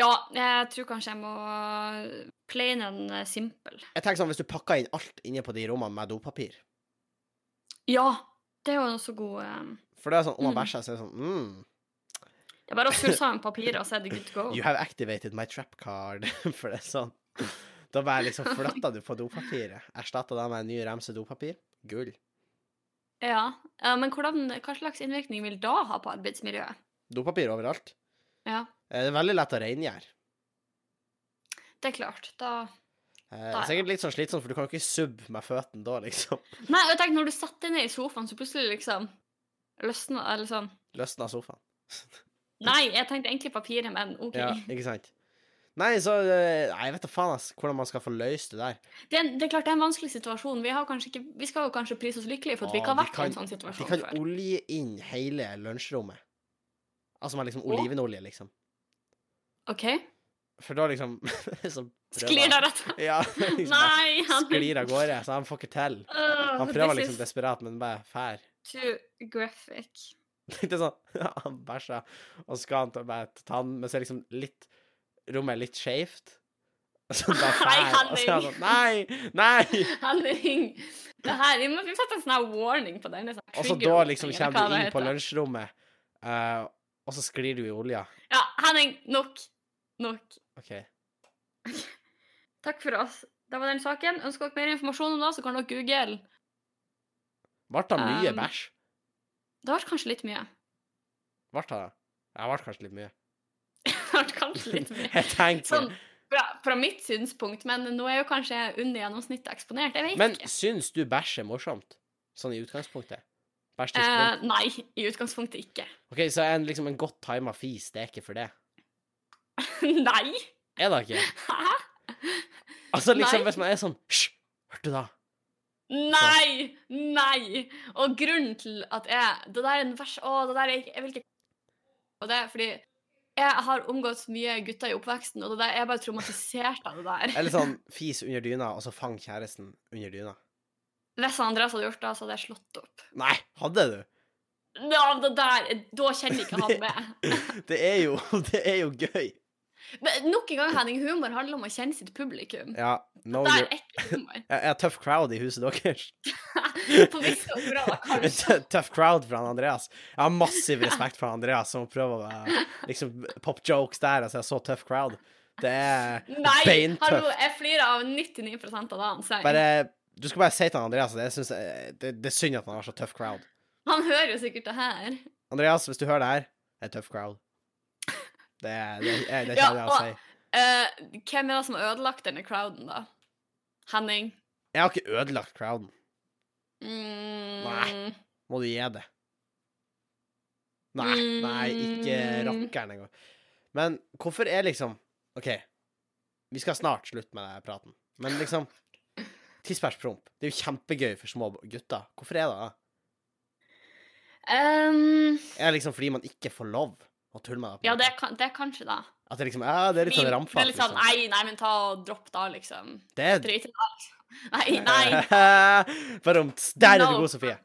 Ja, jeg tror kanskje jeg må eh, plain and simple. Jeg tenker sånn, Hvis du pakker inn alt inne på de rommene med dopapir Ja, det er jo en så god eh, For det er sånn, om man Mm. bæsjer, så er det sånn mm, Det er bare å surre sammen papirer, så er det good to go. You have activated my trap card. <laughs> For det er sånn. Da bare liksom flytter du på dopapiret. Erstatter det med en ny remse dopapir. Gull. Ja, eh, Men hvordan, hva slags innvirkning vil da ha på arbeidsmiljøet? Dopapir overalt. Ja, Eh, Det er veldig lett å rengjøre. det er klart. Da Eh, ja. Sikkert litt sånn slitsomt, for du kan jo ikke subbe med føttene da, liksom. Nei, og jeg tenker, når du setter deg ned i sofaen, så plutselig liksom løsner Eller sånn Løsne av sofaen. Nei, jeg tenkte egentlig papiret, men OK. Ja, ikke sant? Nei, så eh, Nei, jeg vet da faen, ass, hvordan man skal få løst det der. Det, er, en- det er klart det er en vanskelig situasjon. Vi, har kanskje ikke, vi skal jo kanskje prise oss lykkelige for at vi Ja, ikke har vi vært kan- i en sånn De situasjon kan før. olje inn hele lunsjrommet. Altså med liksom olivenolje, liksom. OK? For For da liksom <laughs> så <laughs> prøver han- Sklir det rett Ja, <laughs> liksom, bare Nei! Han, sklir av gårde, så han får ikke til. Øh, Han prøver this liksom is desperat, men bare fær. <laughs> Too graphic. Det er sånn, <laughs> han bæsjer, og skal han ta bare ta tann, men så er liksom litt Rommet er litt skeivt. <laughs> Så han bare Nei, fær. Og så er han sånn Nei! Nei! <laughs> Henning, det her, vi må vi setter en sånn her warning på den. en sånn Og så trigger da warning, liksom eller kommer hva du det inn på heter. lunsjrommet, eh, og så sklir du i olja. Ja, Henning, nok. Nok. OK. Takk for oss. Det var den saken. Ønsker dere mer informasjon om det, så kan dere google. Ble det mye Um, bæsj? Det ble kanskje litt mye. <laughs> Ble det det? Ja, ble kanskje litt mye. Det ble kanskje <laughs> litt mye. <laughs> Jeg tenkte Sånn fra, fra mitt synspunkt, men nå er jo kanskje jeg under gjennomsnittet eksponert. Jeg vet Men ikke. syns du bæsj er morsomt? Sånn i utgangspunktet? Bæsj til Eh, spunk? nei, i utgangspunktet ikke. <laughs> OK, så er en, liksom en godt tima fis det er ikke for det? nei! Er det <laughs> ikke? Hæ? Altså liksom Nei. hvis man er sånn Hysj! Hørte du det? Nei! Nei! Og grunnen til at jeg Det der er en vers Å, det der er ikke Jeg vil ikke Og det er fordi jeg har omgått mye gutter i oppveksten, og det der, jeg er bare traumatisert av det <laughs> der. Eller sånn fis under dyna, og så fang kjæresten under dyna. Hvis Andreas hadde gjort det, så hadde jeg slått opp. Nei, hadde du? Ja, det der, Da kjenner ikke <laughs> han med. Det er jo, <laughs> det er jo gøy. Men nok en gang, Henning, humor handler om å kjenne sitt publikum. Ja, no, Det you, <laughs> er ekkel humor. jeg er tøff crowd i huset deres. På visse områder, <laughs> En kanskje. tø- Tøff crowd for han Andreas. Jeg har massiv respekt for han Andreas, som prøver å være- liksom pop jokes der. Altså, jeg er så tøff crowd. Det er Nei, hallo, beintøft. jeg flirer av 99 av det han sier. Bare, du skal bare si til han Andreas at jeg synes det, det, det er synd at han har så tøff crowd. Han hører jo sikkert det her. Andreas, hvis du hører det her, det er tøff crowd. Det er det, er- det er Ja, ikke det jeg og- sier. Eh, hvem er det som har ødelagt denne crowden, da? Henning? Jeg har ikke ødelagt crowden. Mm, Nei. Må du gi det? Nei, Mm. nei, ikke rockeren engang. Men hvorfor er liksom OK, vi skal snart slutte med denne praten, men liksom Tisbæsjpromp. Det er jo kjempegøy for små gutter. Hvorfor er det det? ehm, Er det liksom fordi man ikke får lov å tulle med det? på en ja, måte? det, kan- det er kanskje det. At det liksom Ja, det er litt sånn Det rampete. er litt sånn, nei, nei, men ta og dropp da, liksom. Det er Drit i det. <laughs> Nei, <laughs> nei, Bare om Der er du No. god, Sofie.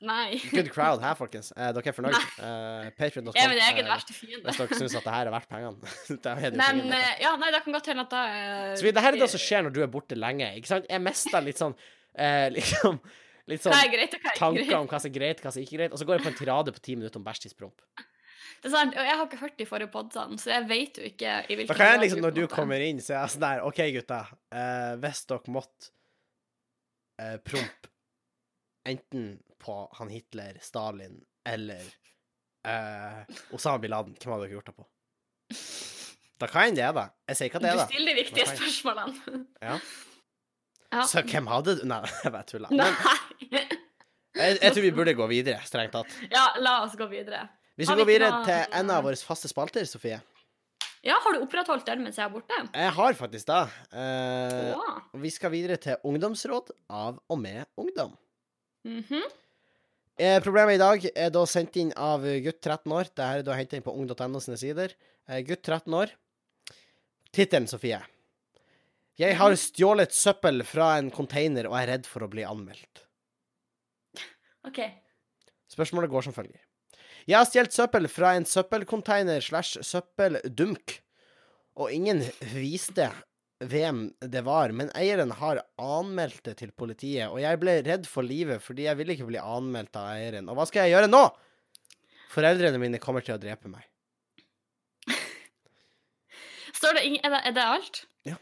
nei. Good crowd her, folkens. Eh, dere er fornøyd. Uh, Patrion.com. Jeg er min egen eh, verste fiende. Hvis dere syns at det her er verdt pengene. <laughs> da er det jo Men pengene. eh, ja, nei, det kan godt hende at da eh, Så vi- det altså her er det som skjer når du er borte lenge. Ikke sant? Jeg mister litt sånn eh, <laughs> liksom, Litt Hva er sånn greit, og hva er ikke tanker greit? om hva som er greit, hva som ikke er greit. Og så går jeg på en tirade på ti minutter om bæsj, tiss, promp. Det er sant, og jeg har ikke hørt de forrige poddene, så jeg vet jo ikke i hvilken Da kan jeg grad liksom, når du på en måte- kommer inn, så er jeg sånn der OK, gutta. eh, hvis dere måtte eh, prompe enten på han Hitler, Stalin eller eh, Osama bin Laden, hvem hadde dere gjort det på? Da kan jeg det, da. Jeg sier ikke at det er Du det. stiller de viktige Nei. spørsmålene. Ja. Ja. Så hvem hadde du Nei, <laughs> jeg tuller. Men Nei! jeg, jeg tror vi burde gå videre, strengt tatt. Ja, la oss gå videre. Hvis vi Har går vi ikke videre noe- til en av våre faste spalter, Sofie Ja, har du opprettholdt den mens jeg er borte? Jeg har faktisk da eh, Åh. Vi skal videre til ungdomsråd av og med ungdom. Mhm. Eh, problemet i dag er da sendt inn av gutt 13 år. Det her er da hentet inn på ung.no sine sider. Eh, gutt 13 år. Tittelen, Sofie. Jeg har stjålet søppel fra en container og er redd for å bli anmeldt. OK. Spørsmålet går som følger. Jeg har stjålet søppel fra en søppelcontainer slash søppeldunk, og ingen viste hvem det var, men eieren har anmeldt det til politiet, og jeg ble redd for livet fordi jeg ville ikke bli anmeldt av eieren. Og hva skal jeg gjøre nå? Foreldrene mine kommer til å drepe meg. Står det ing- er, det, er det alt? Eh, Ja.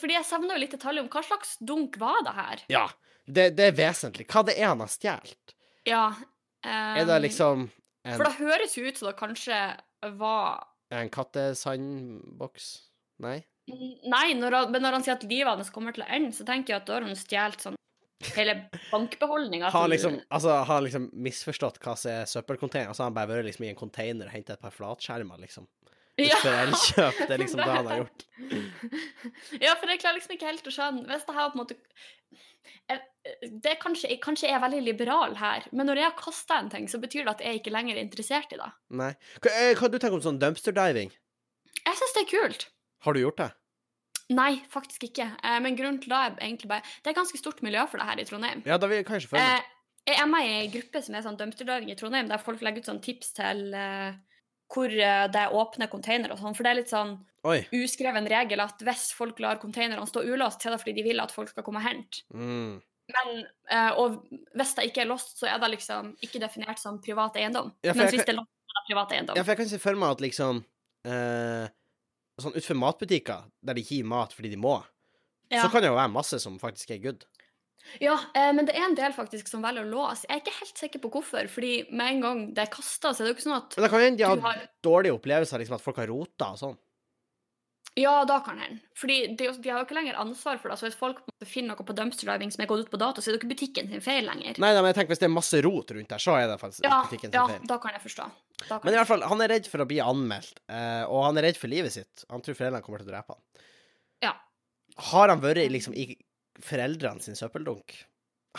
Fordi jeg savner jo litt detaljer om hva slags dunk var det her. Ja, det, det er vesentlig. Hva det er han har stjålet? Ja. ehm, Er det liksom Um, For en, det høres jo ut som det kanskje var en kattesandboks? Nei? Nei, når han, men når han sier at livet hans kommer til å ende, så tenker jeg at da har hun stjålet sånn hele bankbeholdninga. Har liksom, altså, har liksom misforstått hva som er søppelcontainer. Altså, han har bare vært liksom i en container og henta et par flatskjermer, liksom. ja. Før Elkjøp. Det er liksom det <laughs> han har gjort. Ja, for jeg klarer liksom ikke helt å skjønne Hvis det her på en måte jeg, det er kanskje, jeg, kanskje jeg er veldig liberal her, men når jeg har kasta en ting, så betyr det at jeg ikke lenger er interessert i det. Nei. Hva, eh, hva du tenker om sånn dumpster diving? Jeg syns det er kult. Har du gjort det? Nei, faktisk ikke. Eh, men grunnen til det er egentlig bare Det er ganske stort miljø for det her i Trondheim. Ja, da vil jeg kanskje følge med. Eh, jeg er med i ei gruppe som er sånn dumpsterdiving i Trondheim, der folk legger ut sånn tips til eh, hvor eh, det er åpne containere og sånn, for det er litt sånn Eh. Oi. uskreven regel at hvis folk lar containerne stå ulåst, så er det fordi de vil at folk skal komme og hente. Mm. Men, eh, og hvis det ikke er låst, så er det liksom ikke definert som privat eiendom. Ja, for Mens jeg hvis det er låst, så er det privat eiendom. Ja, for jeg kan se for meg at liksom eh, Sånn utenfor matbutikker, der de hiver mat fordi de må, Ja. så kan det jo være masse som faktisk er good. Ja, eh, men det er en del faktisk som velger å låse. Jeg er ikke helt sikker på hvorfor, fordi med en gang det er kasta, så er det jo ikke sånn at Men det kan jo hende de du har har dårlige opplevelser, liksom at folk har rota og sånn. Ja, da kan hende. Fordi de, de har jo ikke lenger ansvar for det. Så hvis folk på en måte finner noe på dumpster diving som er gått ut på dato, så er det jo ikke butikken sin feil lenger. Nei, nei, men jeg tenker hvis det er masse rot rundt der, så er det faktisk Ja, butikken sin ja, feil. da kan jeg forstå. Da kan Men i jeg... hvert fall, han er redd for å bli anmeldt, eh, og han er redd for livet sitt. Han tror foreldrene kommer til å drepe han. Ja. Har han vært i, liksom, i foreldrene sin søppeldunk?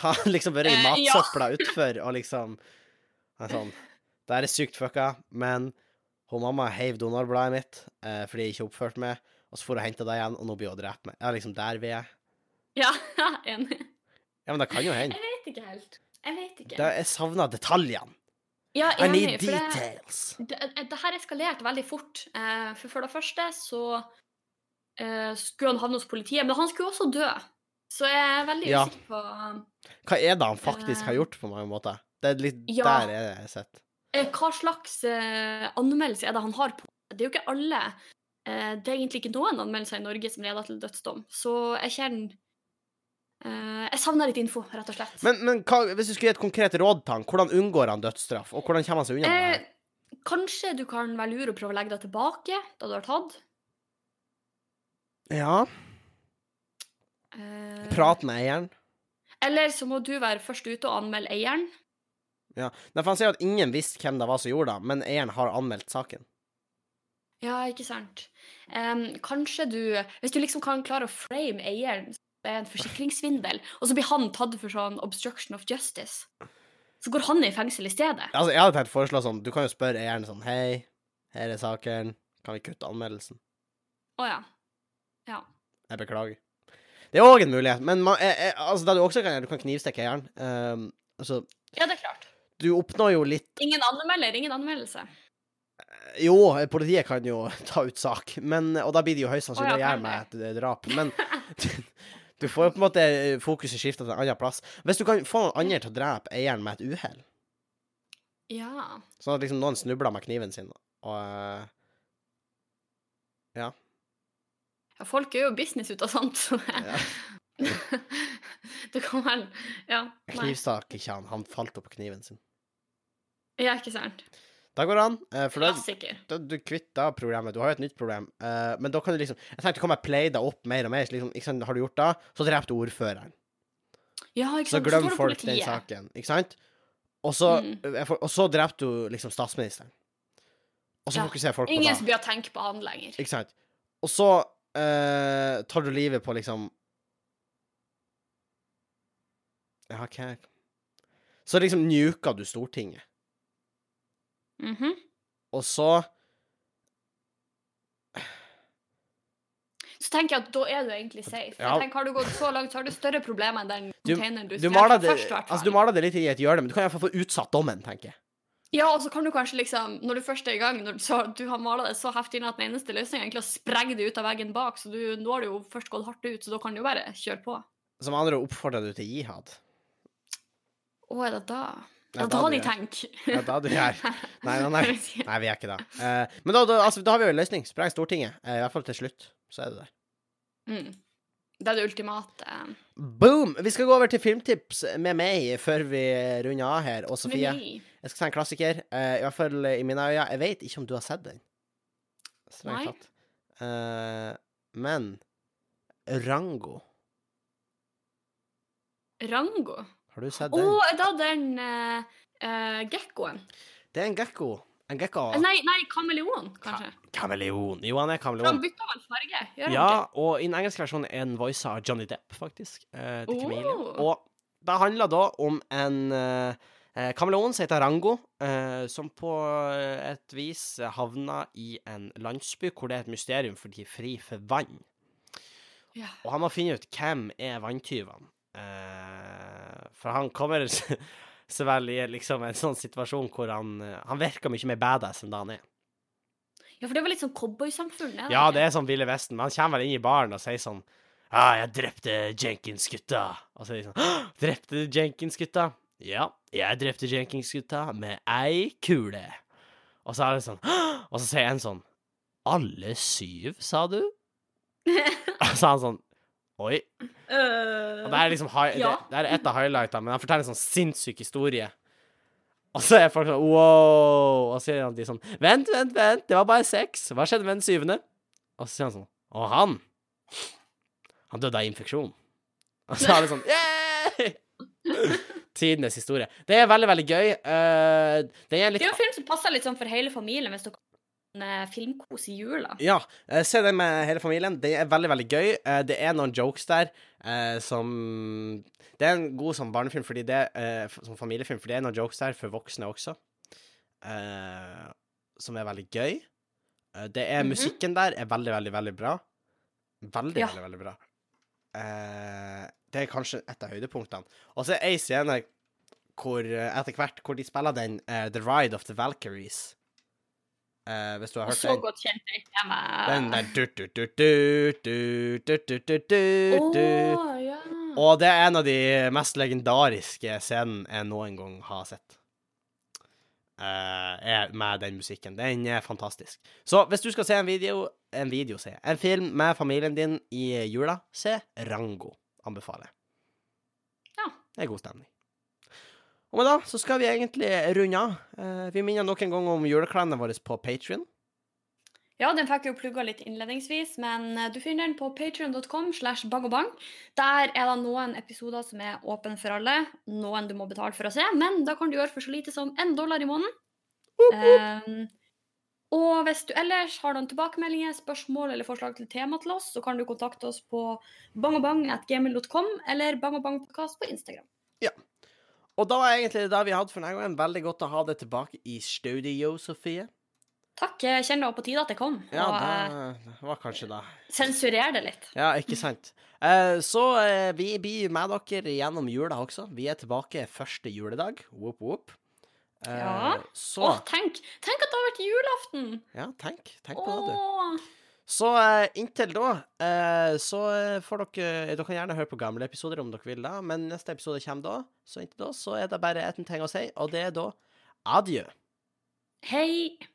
Har han liksom vært i Eh, ja. matsøpla utfor og liksom han er sånn, Det her er sykt fucka, men hun mamma heiv donorbladet mitt eh, fordi jeg ikke oppførte meg, og så for hun hente det igjen, og nå blir hun drept meg. Ja, liksom der vi er. <laughs> Ja, enig. Ja, men det kan jo hende. Jeg vet ikke helt. Jeg vet ikke. Da- Jeg savna detaljene. Ja, I enig, need for det... details. det, eh, det her eskalerte veldig fort. eh, for for det første så eh, skulle han havne hos politiet, men han skulle også dø. Så jeg er veldig Ja. usikker på Hva er det han faktisk har gjort, på mange måter? Det er litt Eh. Ja. der er det jeg sitter. eh, hva slags eh, anmeldelse er det han har på. Det er jo ikke alle. eh, det er egentlig ikke noen anmeldelser i Norge som leder til dødsdom, så jeg kjenner eh, Jeg savner litt info, rett og slett. Men, men hva, hvis du skulle gi et konkret råd til han, hvordan unngår han dødsstraff, og hvordan kommer han seg unna med det? eh, kanskje du kan være lur og prøve å legge deg tilbake da du har tatt. her? Ja, Eh, prat med eieren. Eller så må du være først ute og anmelde eieren. Nei, for han sier at ingen visste hvem det var som gjorde det, men eieren har anmeldt saken. Ja, ikke sant. Em, kanskje du Hvis du liksom kan klare å frame eieren så det er en forsikringssvindel, og så blir han tatt for sånn obstruction of justice, så går han i fengsel i stedet. Altså, jeg hadde tenkt å foreslå sånn, du kan jo spørre eieren sånn, hei, her er saken, Kan vi kutte anmeldelsen? Å ja. Ja. Jeg beklager. Det er òg en mulighet, men man, eh, eh, altså, det du også kan gjøre, du kan knivstikke eieren. Um, altså, Ja, det er klart. du oppnår jo litt Ingen anmelder, ingen anmeldelse. Jo, eh, politiet kan jo <laughs> ta ut sak, men, og da blir det jo høyst sannsynlig å Å ja, gjøre kan med et drap. <laughs> Men <laughs> du får jo på en måte eh, fokuset skifta til en annen plass. Hvis du kan få noen andre til å drepe eieren med et uhell, Ja. sånn at liksom noen snubler med kniven sin og eh, ja folk gjør jo business ut av sånt, så Ja. <laughs> Du kan vel Ja. Nei. Knivstakk ikke han, han falt opp på kniven sin. Ja, ikke sant. Da går det an, eh, for da Klassiker. da er du kvitt da problemet. Du har jo et nytt problem, eh, men da kan du liksom Jeg tenkte, kan jeg play deg opp mer og mer? så Liksom, ikke sant, har du gjort det, så dreper du ordføreren. Ja, ikke Så sant. glem står det folk den politiet. Mm. saken, ikke sant? Og så, eh, og så drepte du liksom statsministeren. Og så Ja. fokuserer folk på Ingen det. som begynner å tenke på han lenger. Ikke sant? Og så eh, tar du livet på liksom Ja, hva Så liksom nuka du Stortinget, Mhm. og så Så tenker jeg at da er du egentlig safe. Ja. Jeg tenker, Har du gått så langt, så har du større problemer enn den Du- containeren du, Du stjal maler det, først, i hvert altså, fall. du maler det litt i et hjørne, men du kan iallfall få utsatt dommen, tenker jeg. Ja, og så kan du kanskje liksom, når du først er i gang, når du, så, du har mala det så heftig inn at den eneste løsningen er egentlig å sprenge det ut av veggen bak, så du, nå har det jo først gått hardt ut, så da kan du jo bare kjøre på. Som andre oppfordrer du til jihad. Å, er det da? Nei, Ja, da da blir de det- tenker. Ja, da du gjør. <laughs> Nei, nei, <laughs> nei. Nei, vi er ikke det. Eh, men da, da, altså, da har vi jo en løsning. Spreng Stortinget. Eh, I hvert fall til slutt, så er det der. Mm. Det er det ultimate. eh, Boom! Vi skal gå over til filmtips med meg før vi runder av her. Og Sofie, Meny. jeg skal ta en klassiker. eh, I hvert fall i mine øyne. Jeg vet ikke om du har sett den. Nei. Strengt tatt. Eh, men Rango. Rango. Har du sett Å, den? er det den eh, eh, gekkoen? Det er en gekko. En gekko. Eh, Nei, nei, kameleon, kanskje. Kameleon. Jo, han er For han kameleon. bytter vel farge, gjør han Ja, og i den engelske versjonen er den voisa av Johnny Depp, faktisk. Eh, til Oh. Chameleon. Og det handler da om en eh, eh, kameleon som heter Rango, eh, som på eh, et vis havna i en landsby hvor det er et mysterium, for de er fri for vann. ikke? Ja. Og han må finne ut hvem er vanntyvene. Eh, for han kommer <laughs> så vel i liksom en sånn situasjon hvor han eh, Han virker mye mer badass enn det han er. ja, for det var litt sånn cowboysamfunn. er Ja, ikke? det er sånn Ville Vesten. Men han kommer vel inn i baren og sier sånn Ja, ah, jeg drepte Jenkins-gutta. Og så er de sånn «Hå! Drepte du Jenkins-gutta? Ja, jeg drepte Jenkins-gutta med ei kule. Og så er det sånn «Hå!» Og så sier en sånn Alle syv, sa du? <laughs> Og så er han sånn Oi. Øh. Og det er liksom hi Ja. det, det er et av highlightene, men han forteller en sånn sinnssyk historie. Og så er folk sånn wow, og så sier han de sånn Vent, vent, vent, det var bare seks. Hva skjedde med den syvende? Og så sier han sånn Og han Han døde av infeksjon. Og så er det sånn yeah! Tidenes historie. Det er veldig, veldig gøy. Eh, det er Det litt er jo en film som passer litt sånn for hele familien, hvis dere har en eh, filmkos i jula. Ja, eh, se den med hele familien. Det er veldig, veldig gøy. Eh, Det er noen jokes der eh, som Det er en god sånn barnefilm, fordi det, eh, f- som familiefilm, for det er noen jokes der for voksne også, eh, som er veldig gøy. Eh, Det er Mhm. Musikken der er veldig, veldig, veldig bra. Veldig, Ja. veldig, veldig bra. Eh, Det er kanskje et av høydepunktene. Og så er ei scene hvor, eh, etter hvert hvor de spiller den eh, The Ride of the Valkyries. Eh, hvis du har Og hørt så den. godt kjente jeg ikke Den meg. der du, du, du, du, du, du, du, du, du, du. Å, ja. Og det er en av de mest legendariske scenene jeg noen gang har sett. Eh, er med den musikken. Den er fantastisk. Så hvis du skal se en video En video, se. En film med familien din i jula, se Rango. Anbefaler jeg. Ja. Det er god stemning. Og med da så skal vi egentlig runde av. Eh, vi minner nok en gang om julekalenderen vår på Patrion. ja, den fikk jeg jo plugga litt innledningsvis, men eh, du finner den på patrion.com slash bangobang. Der er det noen episoder som er åpne for alle, noen du må betale for å se, men da kan du gjøre for så lite som én dollar i måneden. Eh, og hvis du ellers har noen tilbakemeldinger, spørsmål eller forslag til tema til oss, så kan du kontakte oss på bangobang.gmil.com eller bangobangpodkast på Instagram. Og da er egentlig det vi hadde for denne gangen. Veldig godt å ha deg tilbake i studio, Sofie. Takk, jeg kjenner det var på tide at det kom. Ja, og eh, det var kanskje det. sensurer det litt. Ja, ikke sant. Eh, så eh, vi blir med dere gjennom jula også. Vi er tilbake første juledag. Whoop, whoop. Eh, Ja. Så Å, tenk, tenk at det har vært julaften! Ja, tenk. Tenk på det, du. Åh, Så eh, inntil da, eh, så eh, får dere Dere kan gjerne høre på gamle episoder om dere vil, da, men neste episode kommer da. Så inntil da så er det bare én ting å si, og det er da adjø. hei!